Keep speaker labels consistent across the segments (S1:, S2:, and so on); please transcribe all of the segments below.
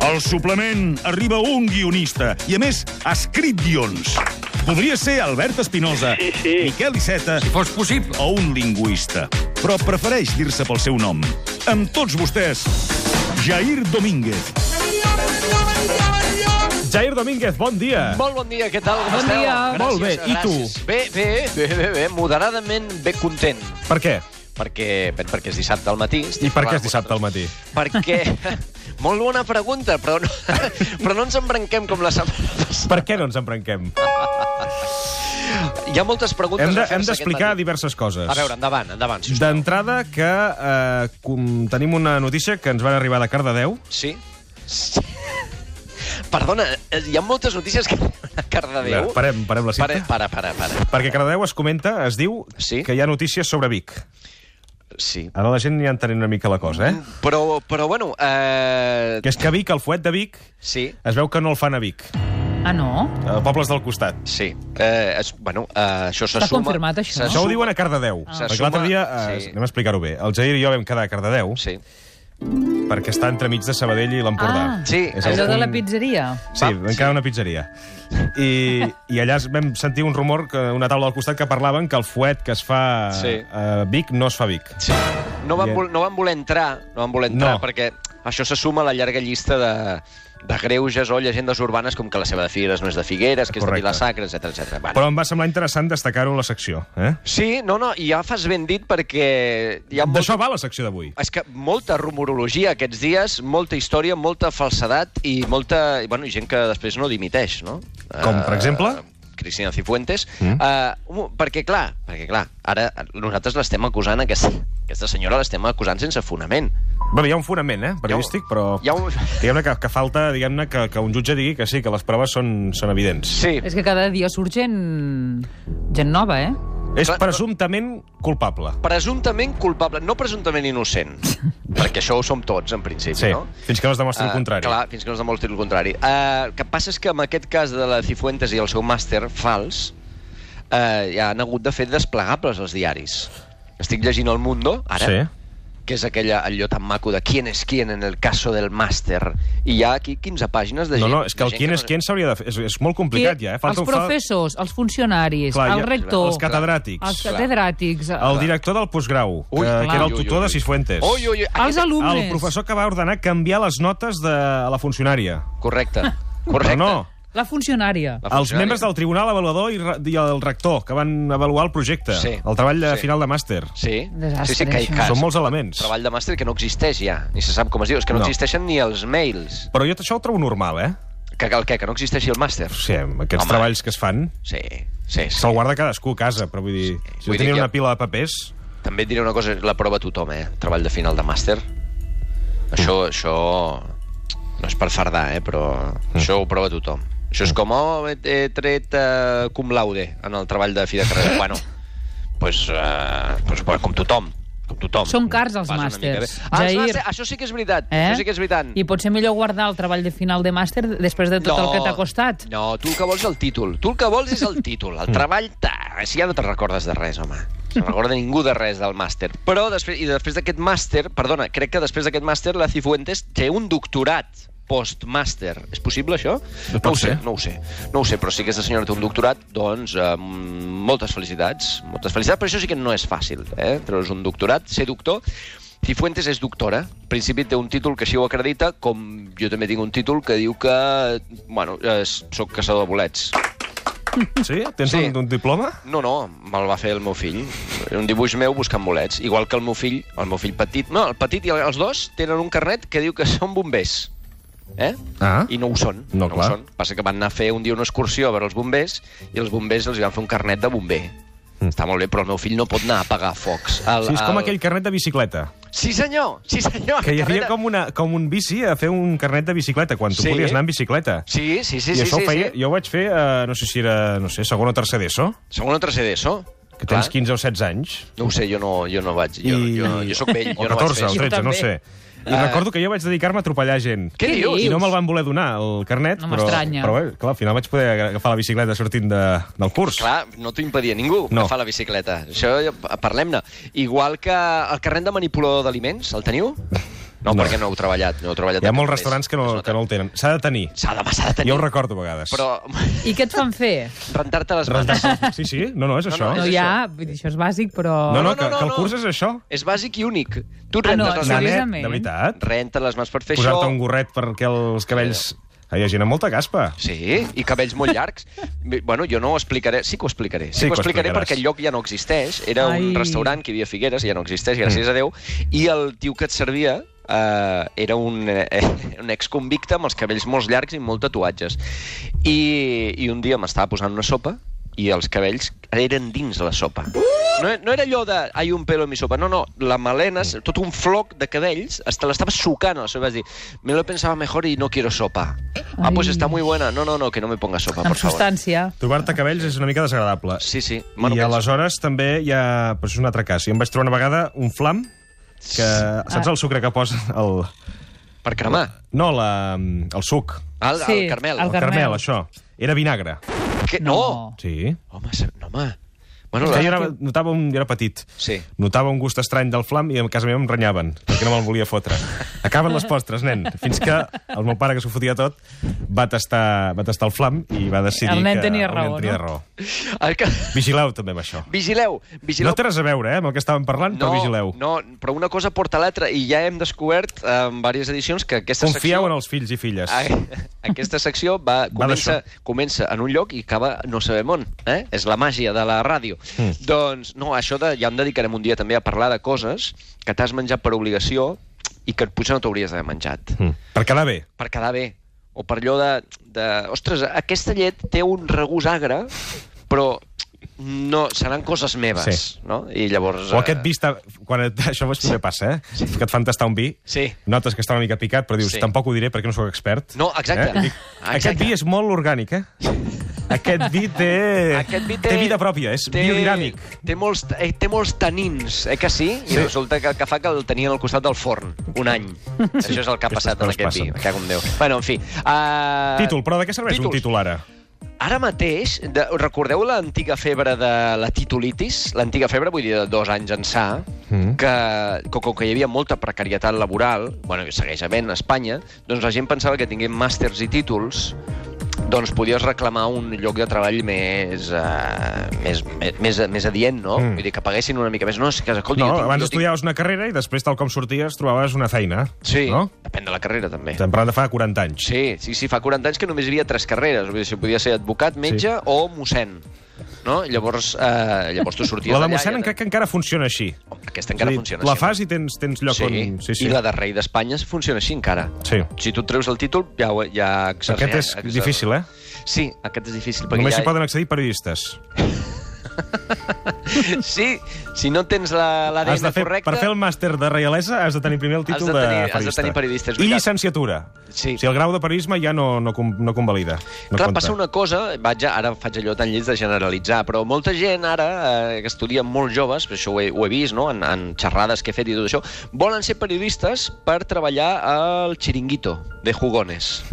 S1: Al suplement arriba un guionista, i a més ha escrit guions. Podria ser Albert Espinosa,
S2: Sí, sí.
S1: Miquel Iceta
S3: Si fos possible.
S1: o un lingüista, però prefereix dir-se pel seu nom. Amb tots vostès, Jair Domínguez.
S4: Jair Domínguez, bon dia.
S5: Molt bon dia, què tal? Com
S6: Bon
S5: esteu?
S6: dia.
S4: Molt bé, i tu?
S5: gràcies. Bé, bé, bé, bé, bé, moderadament bé content,
S4: Per què?
S5: perquè, bé, perquè és dissabte al matí. estic
S4: I per què
S5: parlant
S4: és dissabte al matí?
S5: Perquè... Molt bona pregunta, però no, però no ens embranquem com la setmana passada.
S4: Per què doncs, no ens embranquem?
S5: Hi ha moltes preguntes
S4: Hem de-
S5: a fer-se
S4: hem d'explicar
S5: aquest matí.
S4: diverses coses.
S5: A veure, endavant, endavant, si us plau.
S4: D'entrada, que eh, com, tenim una notícia que ens van arribar de Cardedeu.
S5: Sí? sí. Perdona, eh, hi ha moltes notícies que a Cardedeu...
S4: Veure, parem- parem la cinta.
S5: Para, para, para, para.
S4: Perquè Cardedeu es comenta, es diu,
S5: Sí.
S4: que hi ha notícies sobre Vic.
S5: Sí.
S4: Ara la gent ja entenent una mica la cosa, eh?
S5: Però, però bueno... Eh...
S4: Que és que Vic, el fuet de Vic,
S5: Sí,
S4: es veu que no el fan a Vic,
S6: Ah, no?
S4: a pobles del costat.
S5: sí. Eh, es, bueno, eh, això se
S6: Està
S5: suma...
S6: confirmat, això,
S5: se
S6: no?
S4: Això ho
S5: suma-
S4: diuen a Cardedeu. Ah. Perquè
S5: S'assuma-
S4: l'altre dia, eh,
S5: sí.
S4: anem a explicar-ho bé, el Jair i jo vam quedar a Cardedeu
S5: Sí.
S4: perquè està entre mig de Sabadell i l'Empordà.
S6: Ah.
S5: Sí,
S4: És el
S6: Allò de la
S4: punt-
S6: pizzeria.
S4: Sí,
S5: Va,
S4: vam
S5: sí.
S4: quedar a una pizzeria. I, I allà es- vam sentir un rumor, que una taula al costat, que parlaven que el fuet que es fa
S5: Sí.
S4: a Vic no es fa a Vic.
S5: Sí. No van,
S4: I-
S5: vol, no van voler entrar, no van voler entrar,
S4: No.
S5: no. perquè això se suma a la llarga llista de, de greuges o llegendes urbanes com que la seva de Figueres no és de Figueres, que és
S4: Correcte.
S5: de Vilasacra, etc etc. Bueno.
S4: Però em va semblar interessant destacar-ho a la secció. Eh?
S5: Sí, no, no, i ja fas ben dit perquè hi ha molt...
S4: D'això va la secció d'avui.
S5: És que molta rumorologia aquests dies, molta història, molta falsedat i molta... i, Bueno, i gent que després no dimiteix, no?
S4: Com, per
S5: Eh,
S4: exemple?
S5: Cristina Cifuentes.
S4: Mm.
S5: Mm. Uh, perquè, clar, perquè, clar, ara nosaltres l'estem acusant, aquesta, aquesta senyora l'estem acusant sense fonament.
S4: Bé, hi ha un fonament, eh, periodístic,
S5: Hi ha
S4: però...
S5: un- hi ha un-
S4: Diguem-ne que, que falta diguem-ne que, que un jutge digui que sí, que les proves són, són evidents.
S5: Sí.
S6: És que cada dia surt gent... gent nova, eh?
S4: És
S5: Clar, però-
S4: presumptament culpable.
S5: presumptament culpable, no presumptament innocent, perquè això ho som tots, en principi,
S4: Sí,
S5: no?
S4: fins que no es demostri el
S5: Ah,
S4: contrari.
S5: Clar, fins que no es demostri el contrari. Uh, el que passa és que en aquest cas de la Cifuentes i el seu màster fals, uh, ja han hagut de fer desplegables els diaris. Estic llegint El Mundo, ara,
S4: Sí.
S5: que és aquella, allò tan maco de quién es quién en el caso del màster. I hi ha aquí 15 pàgines de
S4: No,
S5: gent...
S4: no, és que el
S5: de gent
S4: quién
S5: no-
S4: és quién s'hauria de fer. És, és molt complicat, ja. Eh?
S6: els
S4: un fa-
S6: professors, els funcionaris,
S4: Clar,
S6: el
S4: ja-
S6: rector...
S4: els catedràtics.
S6: Els catedràtics.
S4: El director del postgrau, que,
S5: Ah, Ui, clar.
S4: que era el
S5: Ui, ui,
S4: tutor de
S5: ui.
S4: Cisfuentes.
S5: Ui, ui, ui.
S6: Els alumnes.
S4: El professor que va ordenar canviar les notes de la funcionària.
S5: Correcte, correcte.
S4: Però no,
S6: La funcionària. Ah,
S5: La
S4: els
S5: funcionària.
S4: membres del tribunal avaluador i, re- i el rector que van avaluar el projecte,
S5: Sí.
S4: el treball de
S5: Sí.
S4: final de màster.
S5: Sí,
S6: Desastre,
S5: sí, sí, que,
S6: això.
S5: que,
S4: Són molts elements.
S5: treball de màster que no existeix ja, ni se sap com es diu, és que no,
S4: No.
S5: no. existeixen ni els mails.
S4: Però jo això ho trobo normal, eh?
S5: Que, que el què? Que no existeixi el màster?
S4: O sigui, aquests
S5: Home.
S4: treballs que es fan
S5: Sí, sí, sí.
S4: se'l guarda cadascú a casa, però vull dir, si
S5: Vull
S4: jo
S5: dir
S4: tenia
S5: que-
S4: una pila de papers...
S5: També et diré una cosa, la prova a tothom, eh? Treball de final de màster. Això, això... No és per fardar, eh? Però això ho prova tothom. Això és com, oh, he, he tret eh, cum laude en el treball de fi de carrera. bueno, pues, eh, pues, bueno, com tothom. Com tothom.
S6: Són cars els
S5: Vas una mica
S6: màsters.
S5: bé. Ah, els
S6: Jair.
S5: màsters, això sí que és veritat. Eh? Això sí que és veritat.
S6: I potser millor guardar el treball de final de màster després de tot el que t'ha costat.
S5: No, tu el que vols és el títol. Tu el que vols és el títol.
S4: Mm.
S5: El treball, ta, si ja no te'n recordes de res, home. No se'n recorda ningú de res del màster. Però després, i després d'aquest màster, perdona, crec que després d'aquest màster la Cifuentes té un doctorat postmàster. És possible, això?
S4: No
S5: No
S4: pot
S5: ho sé,
S4: ser.
S5: no ho sé. No ho sé, però si aquesta senyora té un doctorat, doncs eh, moltes felicitats. Moltes felicitats, però això sí que no és fàcil, eh? Treure's un doctorat, ser doctor... Cifuentes és doctora. En principi té un títol que així ho acredita, com jo també tinc un títol que diu que... Bueno, eh, sóc caçador de bolets.
S4: Sí? Tens
S5: Sí.
S4: Un, un diploma?
S5: No, no, me'l va fer el meu fill. Era Un dibuix meu buscant bolets. Igual que el meu fill, el meu fill petit... No, el petit i el- els dos tenen un carnet que diu que són bombers. Eh?
S4: Ah.
S5: I no ho són.
S4: No, clar.
S5: ho són. Passa que van anar a fer un dia una excursió a veure els bombers i els bombers els van fer un carnet de bomber. Mm. Està molt bé, però el meu fill no pot anar a apagar focs. El,
S4: Sí, és com aquell carnet de bicicleta.
S5: Sí, senyor! Sí, senyor!
S4: Que hi
S5: el carnet
S4: havia
S5: de-
S4: com, una, com un bici a fer un carnet de bicicleta, quan tu
S5: Sí.
S4: podies anar en bicicleta.
S5: Sí, sí, sí.
S4: I
S5: sí,
S4: això
S5: sí,
S4: ho feia,
S5: Sí.
S4: jo ho vaig fer, eh, no sé si era, no sé, segon o tercer d'ESO,
S5: Segon o tercer d'ESO.
S4: que tens 15 o 16 anys.
S5: No ho sé, jo no, jo no vaig... Jo,
S4: I-
S5: jo, jo sóc vell,
S4: o
S5: jo no vaig
S4: 14
S5: fer
S4: o
S5: això.
S4: 13, no
S6: Jo
S4: ho sé. I
S5: Ah.
S4: recordo que jo vaig dedicar-me a atropellar gent.
S5: Què
S6: Què
S5: dius?
S4: I no me'l van voler donar, el carnet,
S6: No
S4: però,
S6: m'estranya.
S4: però bé, clar, al final vaig poder agafar la bicicleta sortint de, del curs.
S5: Clar, no t'ho impedia
S4: No.
S5: ningú, no. agafar la bicicleta. Això, ja- parlem-ne. Igual que el carnet de manipulador d'aliments, el teniu? No,
S4: No.
S5: no, perquè no heu treballat. No heu treballat
S4: Hi ha
S5: en
S4: molts
S5: cafès.
S4: restaurants que no,
S5: Es nota.
S4: que no el tenen. S'ha de tenir.
S5: S'ha de, s'ha de tenir.
S4: Jo ho recordo a vegades.
S5: Però
S6: I què et fan fer?
S5: rentar-te les mans.
S4: Rentar-se- Sí, sí, no, no, és
S5: No,
S4: això.
S5: no,
S6: No,
S5: és
S6: ja, vull dir, això és bàsic, però...
S4: No, no,
S5: no,
S4: que,
S5: no,
S4: que el
S5: no.
S4: curs és això.
S5: És bàsic i únic. Tu
S6: Ah,
S5: rentes
S6: no,
S5: les
S6: sí,
S5: mans.
S4: Nanet,
S6: Seriosament?
S4: de veritat.
S5: Renta les mans per fer això.
S4: Posar-te un gorret perquè els cabells... Ah, Hi ha gent amb molta caspa.
S5: Sí, i cabells molt llargs. Bé, bueno, jo no ho explicaré, sí que ho explicaré.
S4: Sí
S5: Sí, que ho
S4: que ho
S5: explicaré
S4: explicaràs.
S5: perquè el lloc ja no existeix. Era Ai.
S6: Ai.
S5: un restaurant que hi havia a Figueres, ja no existeix, gràcies mm. a Déu. I el tio que et servia Uh, era un, eh, un exconvicte amb els cabells molt llargs i molt tatuatges. I, i un dia m'estava posant una sopa i els cabells eren dins la sopa. No, no era allò de, ai, un pelo en mi sopa. No, no, la melena, tot un floc de cabells, hasta l'estava sucant a la sopa. Vas dir, me lo pensaba mejor y no quiero sopa. Ah,
S6: Ai.
S5: pues está muy buena. No, no, no, que no me ponga sopa,
S6: Amb
S5: por favor.
S6: substància.
S4: Trobar-te cabells és una mica desagradable.
S5: Sí, sí.
S4: I
S5: pensa-
S4: aleshores també hi ha... Però és un altre cas. Jo em vaig trobar una vegada un flam que...
S6: Ah.
S4: Saps el sucre que posa el...
S5: Per cremar.
S4: No, la, el suc.
S5: Al, sí,
S6: Sí,
S5: al Carmel.
S6: al
S4: El
S6: Carmel.
S4: carmel, això. Era vinagre.
S5: Que... No.
S4: Sí.
S5: Home, se- no, home. Bueno,
S4: És que jo
S5: la...
S4: era, notava un, jo era petit.
S5: Sí.
S4: Notava un gust estrany del flam i a casa meva em renyaven, perquè no me'l volia fotre. Acaben les postres, nen. Fins que el meu pare, que s'ho fotia tot, va tastar, va tastar el flam i va decidir
S6: El nen
S4: que...
S6: tenia raó,
S4: el nen tenia
S6: no?
S4: raó.
S5: El que...
S4: Vigileu també amb això.
S5: Vigileu, vigileu.
S4: No té res a veure, eh, amb el que estàvem parlant, però vigileu.
S5: no, però una cosa porta a l'altra i ja hem descobert eh, en diverses edicions que aquesta
S4: Confieu
S5: secció...
S4: en els fills i filles.
S5: A- Aquesta secció va, comença, comença en un lloc i acaba no sabem on. Eh? És la màgia de la ràdio.
S4: Hmm.
S5: Mm. Doncs, no, això de, ja en dedicarem un dia també a parlar de coses que t'has menjat per obligació i que potser no t'hauries d'haver menjat. Mm.
S4: Mm. Per quedar bé.
S5: Per quedar bé. O per allò de, de... Ostres, aquesta llet té un regús agre, però no, seran coses meves,
S4: Sí.
S5: no? I llavors...
S4: O aquest
S5: eh,
S4: vi està... Quan et, això és també passa, eh? Sí. Que et fan tastar un vi,
S5: eh, Sí.
S4: notes que està una mica picat, però dius,
S5: Sí.
S4: sí. tampoc ho diré perquè no sóc expert.
S5: No, exacte. Ah,
S4: Eh? Dic,
S5: Exacte.
S4: Aquest vi és molt orgànic, eh? Aquest vi té...
S5: Aquest vi té,
S4: té vida pròpia, és té... biodinàmic.
S5: Té molts, eh, té molts tanins, eh que sí? I
S4: Sí.
S5: resulta que el que fa que el tenien al costat del forn, un any. Això és el que ha
S4: Aquestes
S5: passat en
S4: coses
S5: aquest vi,
S4: passen.
S5: me cago en Déu. Bueno, en fi. Uh...
S4: Títol, però de què serveix
S5: títols.
S4: un títol ara?
S5: Ara mateix, de, recordeu l'antiga febre de la titulitis? L'antiga febre, vull dir, de dos anys ençà, mm.
S4: Mm.
S5: que, que com que hi havia molta precarietat laboral, bueno, i segueix havent a Espanya, doncs la gent pensava que tinguent màsters i títols doncs podies reclamar un lloc de treball més, uh, més, més, més, més adient, no?
S4: Mm.
S5: Mm. Vull dir, que paguessin una mica més. No, és que, escolti,
S4: No,
S5: jo tinc,
S4: abans
S5: jo tinc...
S4: estudiaves una carrera i després, tal com sorties, trobaves una feina.
S5: Sí,
S4: No?
S5: no? depèn de la carrera, també.
S4: Estem parlant de fa 40 anys.
S5: Sí, sí, sí, fa 40 anys que només hi havia tres carreres. Vull dir, si podia ser advocat, metge sí. o mossèn. No? Llavors, eh, llavors tu sorties
S4: La de
S5: d'allà
S4: mossèn
S5: i- Oh,
S4: crec que encara funciona així.
S5: Aquesta
S4: És a
S5: encara
S4: dir,
S5: funciona
S4: La
S5: així.
S4: fas i tens, tens lloc
S5: sí.
S4: on...
S5: Sí, sí. I la de rei d'Espanya funciona així encara.
S4: Sí.
S5: Si tu et treus el títol, ja, ho- ja exerceix.
S4: Aquest és
S5: exerceix.
S4: difícil, eh?
S5: Sí, aquest és difícil. Perquè
S4: Només
S5: ja...
S4: hi poden accedir periodistes.
S5: Sí, si no tens la-
S4: Has
S5: l'ADN
S4: de
S5: la,
S4: fer,
S5: correcta...
S4: Per fer el màster de reialesa has de tenir primer el
S5: Ah, Has de
S4: títol
S5: tenir- has de
S4: de periodista.
S5: tenir periodista, és
S4: I
S5: veritat.
S4: llicenciatura.
S5: Sí.
S4: O sigui, el grau de periodisme ja no, no, com- no convalida. No
S5: Clar,
S4: compta.
S5: passa una cosa, vaig a, ara faig allò tan lleig de generalitzar, però molta gent ara, eh, que estudia molt joves, però això ho he, ho he vist, no?, en, en xerrades que he fet i tot això, volen ser periodistes per treballar al xiringuito de jugones.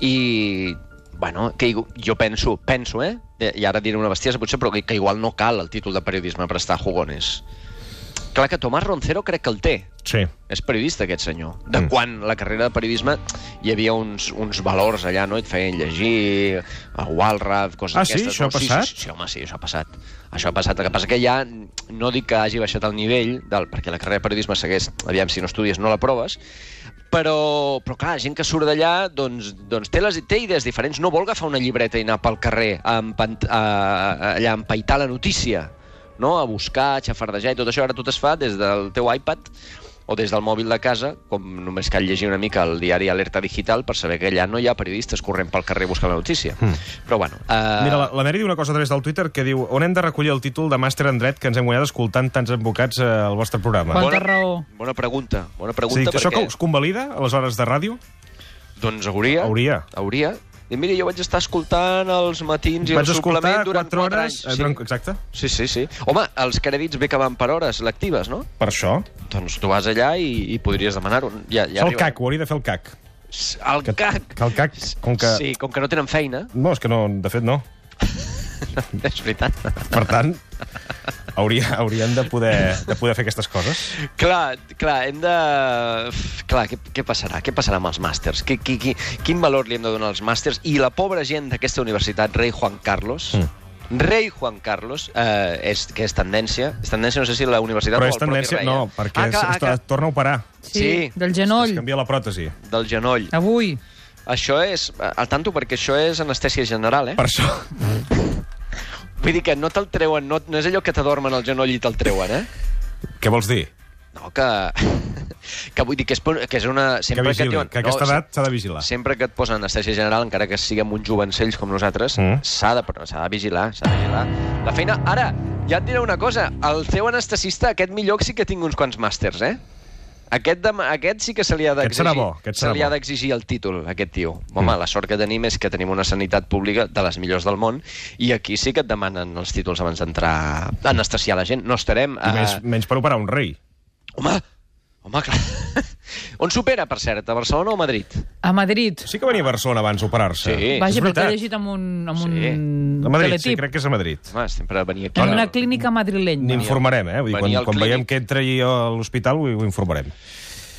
S5: I, bueno, que igu- jo penso, penso, eh?, i ara diré una bestiesa potser, però que, que igual no cal el títol de periodisme per estar a jugones. Clar que Tomàs Roncero crec que el té,
S4: Sí.
S5: és periodista, aquest senyor. De mm. quan la carrera de periodisme hi havia uns, uns valors allà, no? Et feien llegir, a Walraff, coses
S4: Ah, sí?
S5: d'aquestes.
S4: Això
S5: no?
S4: ha passat?
S5: Sí, sí, sí, home, sí, això ha passat. Això ha passat. El que passa que ja no dic que hagi baixat el nivell, del, perquè la carrera de periodisme segueix, aviam, si no estudies no la proves, però, però clar, gent que surt d'allà doncs, doncs té, les, té idees diferents, no vol agafar una llibreta i anar pel carrer a, empant, a, a, allà a empaitar la notícia, no? a buscar, a xafardejar i tot això. Ara tot es fa des del teu iPad o des del mòbil de casa, com només cal llegir una mica el diari Alerta Digital per saber que allà no hi ha periodistes corrent pel carrer buscant la notícia. Mm. Però bueno... Uh...
S4: Hmm. Mira, la, la Mary diu una cosa a través del Twitter que diu on hem de recollir el títol de màster en dret que ens hem guanyat escoltant tants advocats eh, al vostre programa?
S6: Quanta raó.
S5: Bona pregunta, bona
S4: Sí,
S5: pregunta,
S4: que això que
S5: perquè...
S4: us convalida a les hores de ràdio?
S5: Doncs hauria...
S4: Hauria.
S5: Hauria. I mira, jo vaig estar escoltant els matins i
S4: Vaig
S5: el suplement
S4: escoltar
S5: durant
S4: 4
S5: quatre
S4: hores...
S5: anys.
S4: eh, durant- Exacte.
S5: Sí, sí, sí. Home, els crèdits bé que van per hores lectives, no?
S4: Per això.
S5: Doncs tu vas allà i, i podries demanar-ho. Ja, ja
S4: Ja el
S5: arriba.
S4: CAC, ho hauria de fer el CAC.
S5: S- El
S4: Que-
S5: CAC.
S4: que el CAC, com que-
S5: Sí, com que no tenen feina.
S4: No, és que no, de fet no.
S5: és veritat.
S4: Per tant, hauria, haurien de poder, de poder fer aquestes coses.
S5: Clar, clar, hem de... Uf, Clar, què, què passarà? Què passarà amb els màsters? Qui, qui, qui, quin valor li hem de donar als màsters? I la pobra gent d'aquesta universitat, rei Juan Carlos... Mm. Rei Juan Carlos, eh, és, que és tendència. És tendència, no sé si la universitat
S4: Però
S5: o
S4: és
S5: el propi
S4: tendència...
S5: rei. eh?
S4: No, perquè
S5: ah, clar,
S4: es,
S5: ah, clar,
S4: es torna a operar.
S5: Sí.
S6: Del
S4: Es
S6: genoll.
S4: canvia la pròtesi.
S5: del genoll.
S6: Avui.
S5: Això és... eh, Al tanto, perquè això és anestèsia general, eh?
S4: Per això...
S5: Vull dir que no te'l treuen, no, no és allò que t'adormen el genoll i te'l treuen, eh?
S4: Què vols dir?
S5: No, que... que vull dir que és, que és una...
S4: Que
S5: Sempre
S4: vigili,
S5: et diuen-
S4: que a aquesta
S5: no,
S4: edat s'ha de vigilar.
S5: Sempre que et posen anestèsia general, encara que siguem uns jovencells com nosaltres,
S4: Mm.
S5: mm. s'ha de, però s'ha de vigilar, s'ha de vigilar. La feina... Ara, ja et diré una cosa. El teu anestesista, aquest millor sí que tinc uns quants màsters, eh? Aquest, de, aquest sí que se li ha
S4: Aquest
S5: d'exigir.
S4: serà bo, aquest serà
S5: se li ha
S4: bo.
S5: d'exigir el títol, aquest tio. Home, mm. la sort que tenim és que tenim una sanitat pública de les millors del món i aquí sí que et demanen els títols abans d'entrar a anestesiar la gent. No estarem...
S4: I menys, menys per operar un rei.
S5: Home, home, clar. On supera, per cert, a Barcelona o Madrid?
S6: A Madrid.
S4: Sí que venia a Barcelona abans d'operar-se.
S5: Sí.
S6: Vaja,
S4: és
S6: però t'he
S4: veritat.
S6: llegit amb un, amb un
S5: Sí.
S4: A Madrid, sí,
S6: teletip.
S4: crec que és a Madrid.
S5: Home, sempre venir aquí...
S6: En
S5: a-
S6: una clínica madrilenya.
S4: N'informarem, eh? Vull dir, quan,
S5: Venia al
S4: quan
S5: clínic.
S4: veiem que entra allí a l'hospital, ho, ho informarem.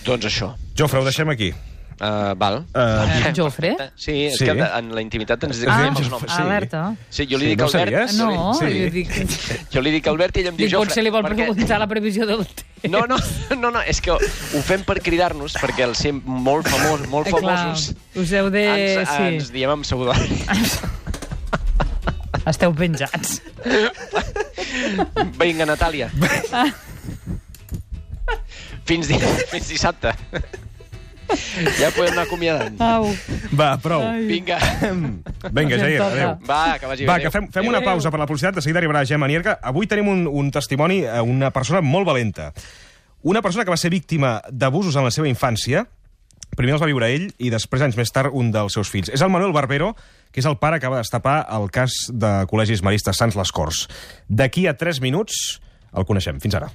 S5: Doncs això.
S4: Jofre, ho deixem aquí.
S5: Uh, val.
S4: Eh,
S6: Jofre?
S5: Sí, és
S4: Sí.
S5: sí. que en la intimitat ens
S4: Ah,
S5: diem els noms.
S4: sí.
S6: Alerta.
S5: Sí, jo li
S4: Sí,
S5: dic
S4: no ho
S5: Albert.
S4: sabies?
S6: No,
S4: Sí.
S6: jo dic...
S5: Jo li dic Albert i ell em diu
S6: dic
S5: Jofre.
S6: potser li vol
S5: perquè-
S6: preguntar la previsió del temps.
S5: No, no, no, no, és que ho fem per cridar-nos, perquè els sent molt famós, molt
S6: Eh,
S5: famosos.
S6: Clar, us heu de...
S5: ens, eh,
S6: sí.
S5: ens diem amb pseudònim.
S6: Esteu penjats.
S5: Vinga, Natàlia. Fins, di fins dissabte. Ja podem anar acomiadant.
S6: Au.
S4: Va, prou.
S6: Ai.
S5: Vinga.
S4: Vinga, Jair,
S6: Em toca.
S4: adéu.
S5: Va, que vagi bé.
S4: Va,
S5: adéu.
S4: que fem, fem una
S6: Adéu.
S4: pausa per la publicitat, de seguida arribarà Gemma Nierga. Avui tenim un, un testimoni a una persona molt valenta. Una persona que va ser víctima d'abusos en la seva infància, primer els va viure ell i després, anys més tard, un dels seus fills. És el Manuel Barbero, que és el pare que va destapar el cas de col·legis maristes Sants Les Corts. D'aquí a 3 minuts el coneixem. Fins ara.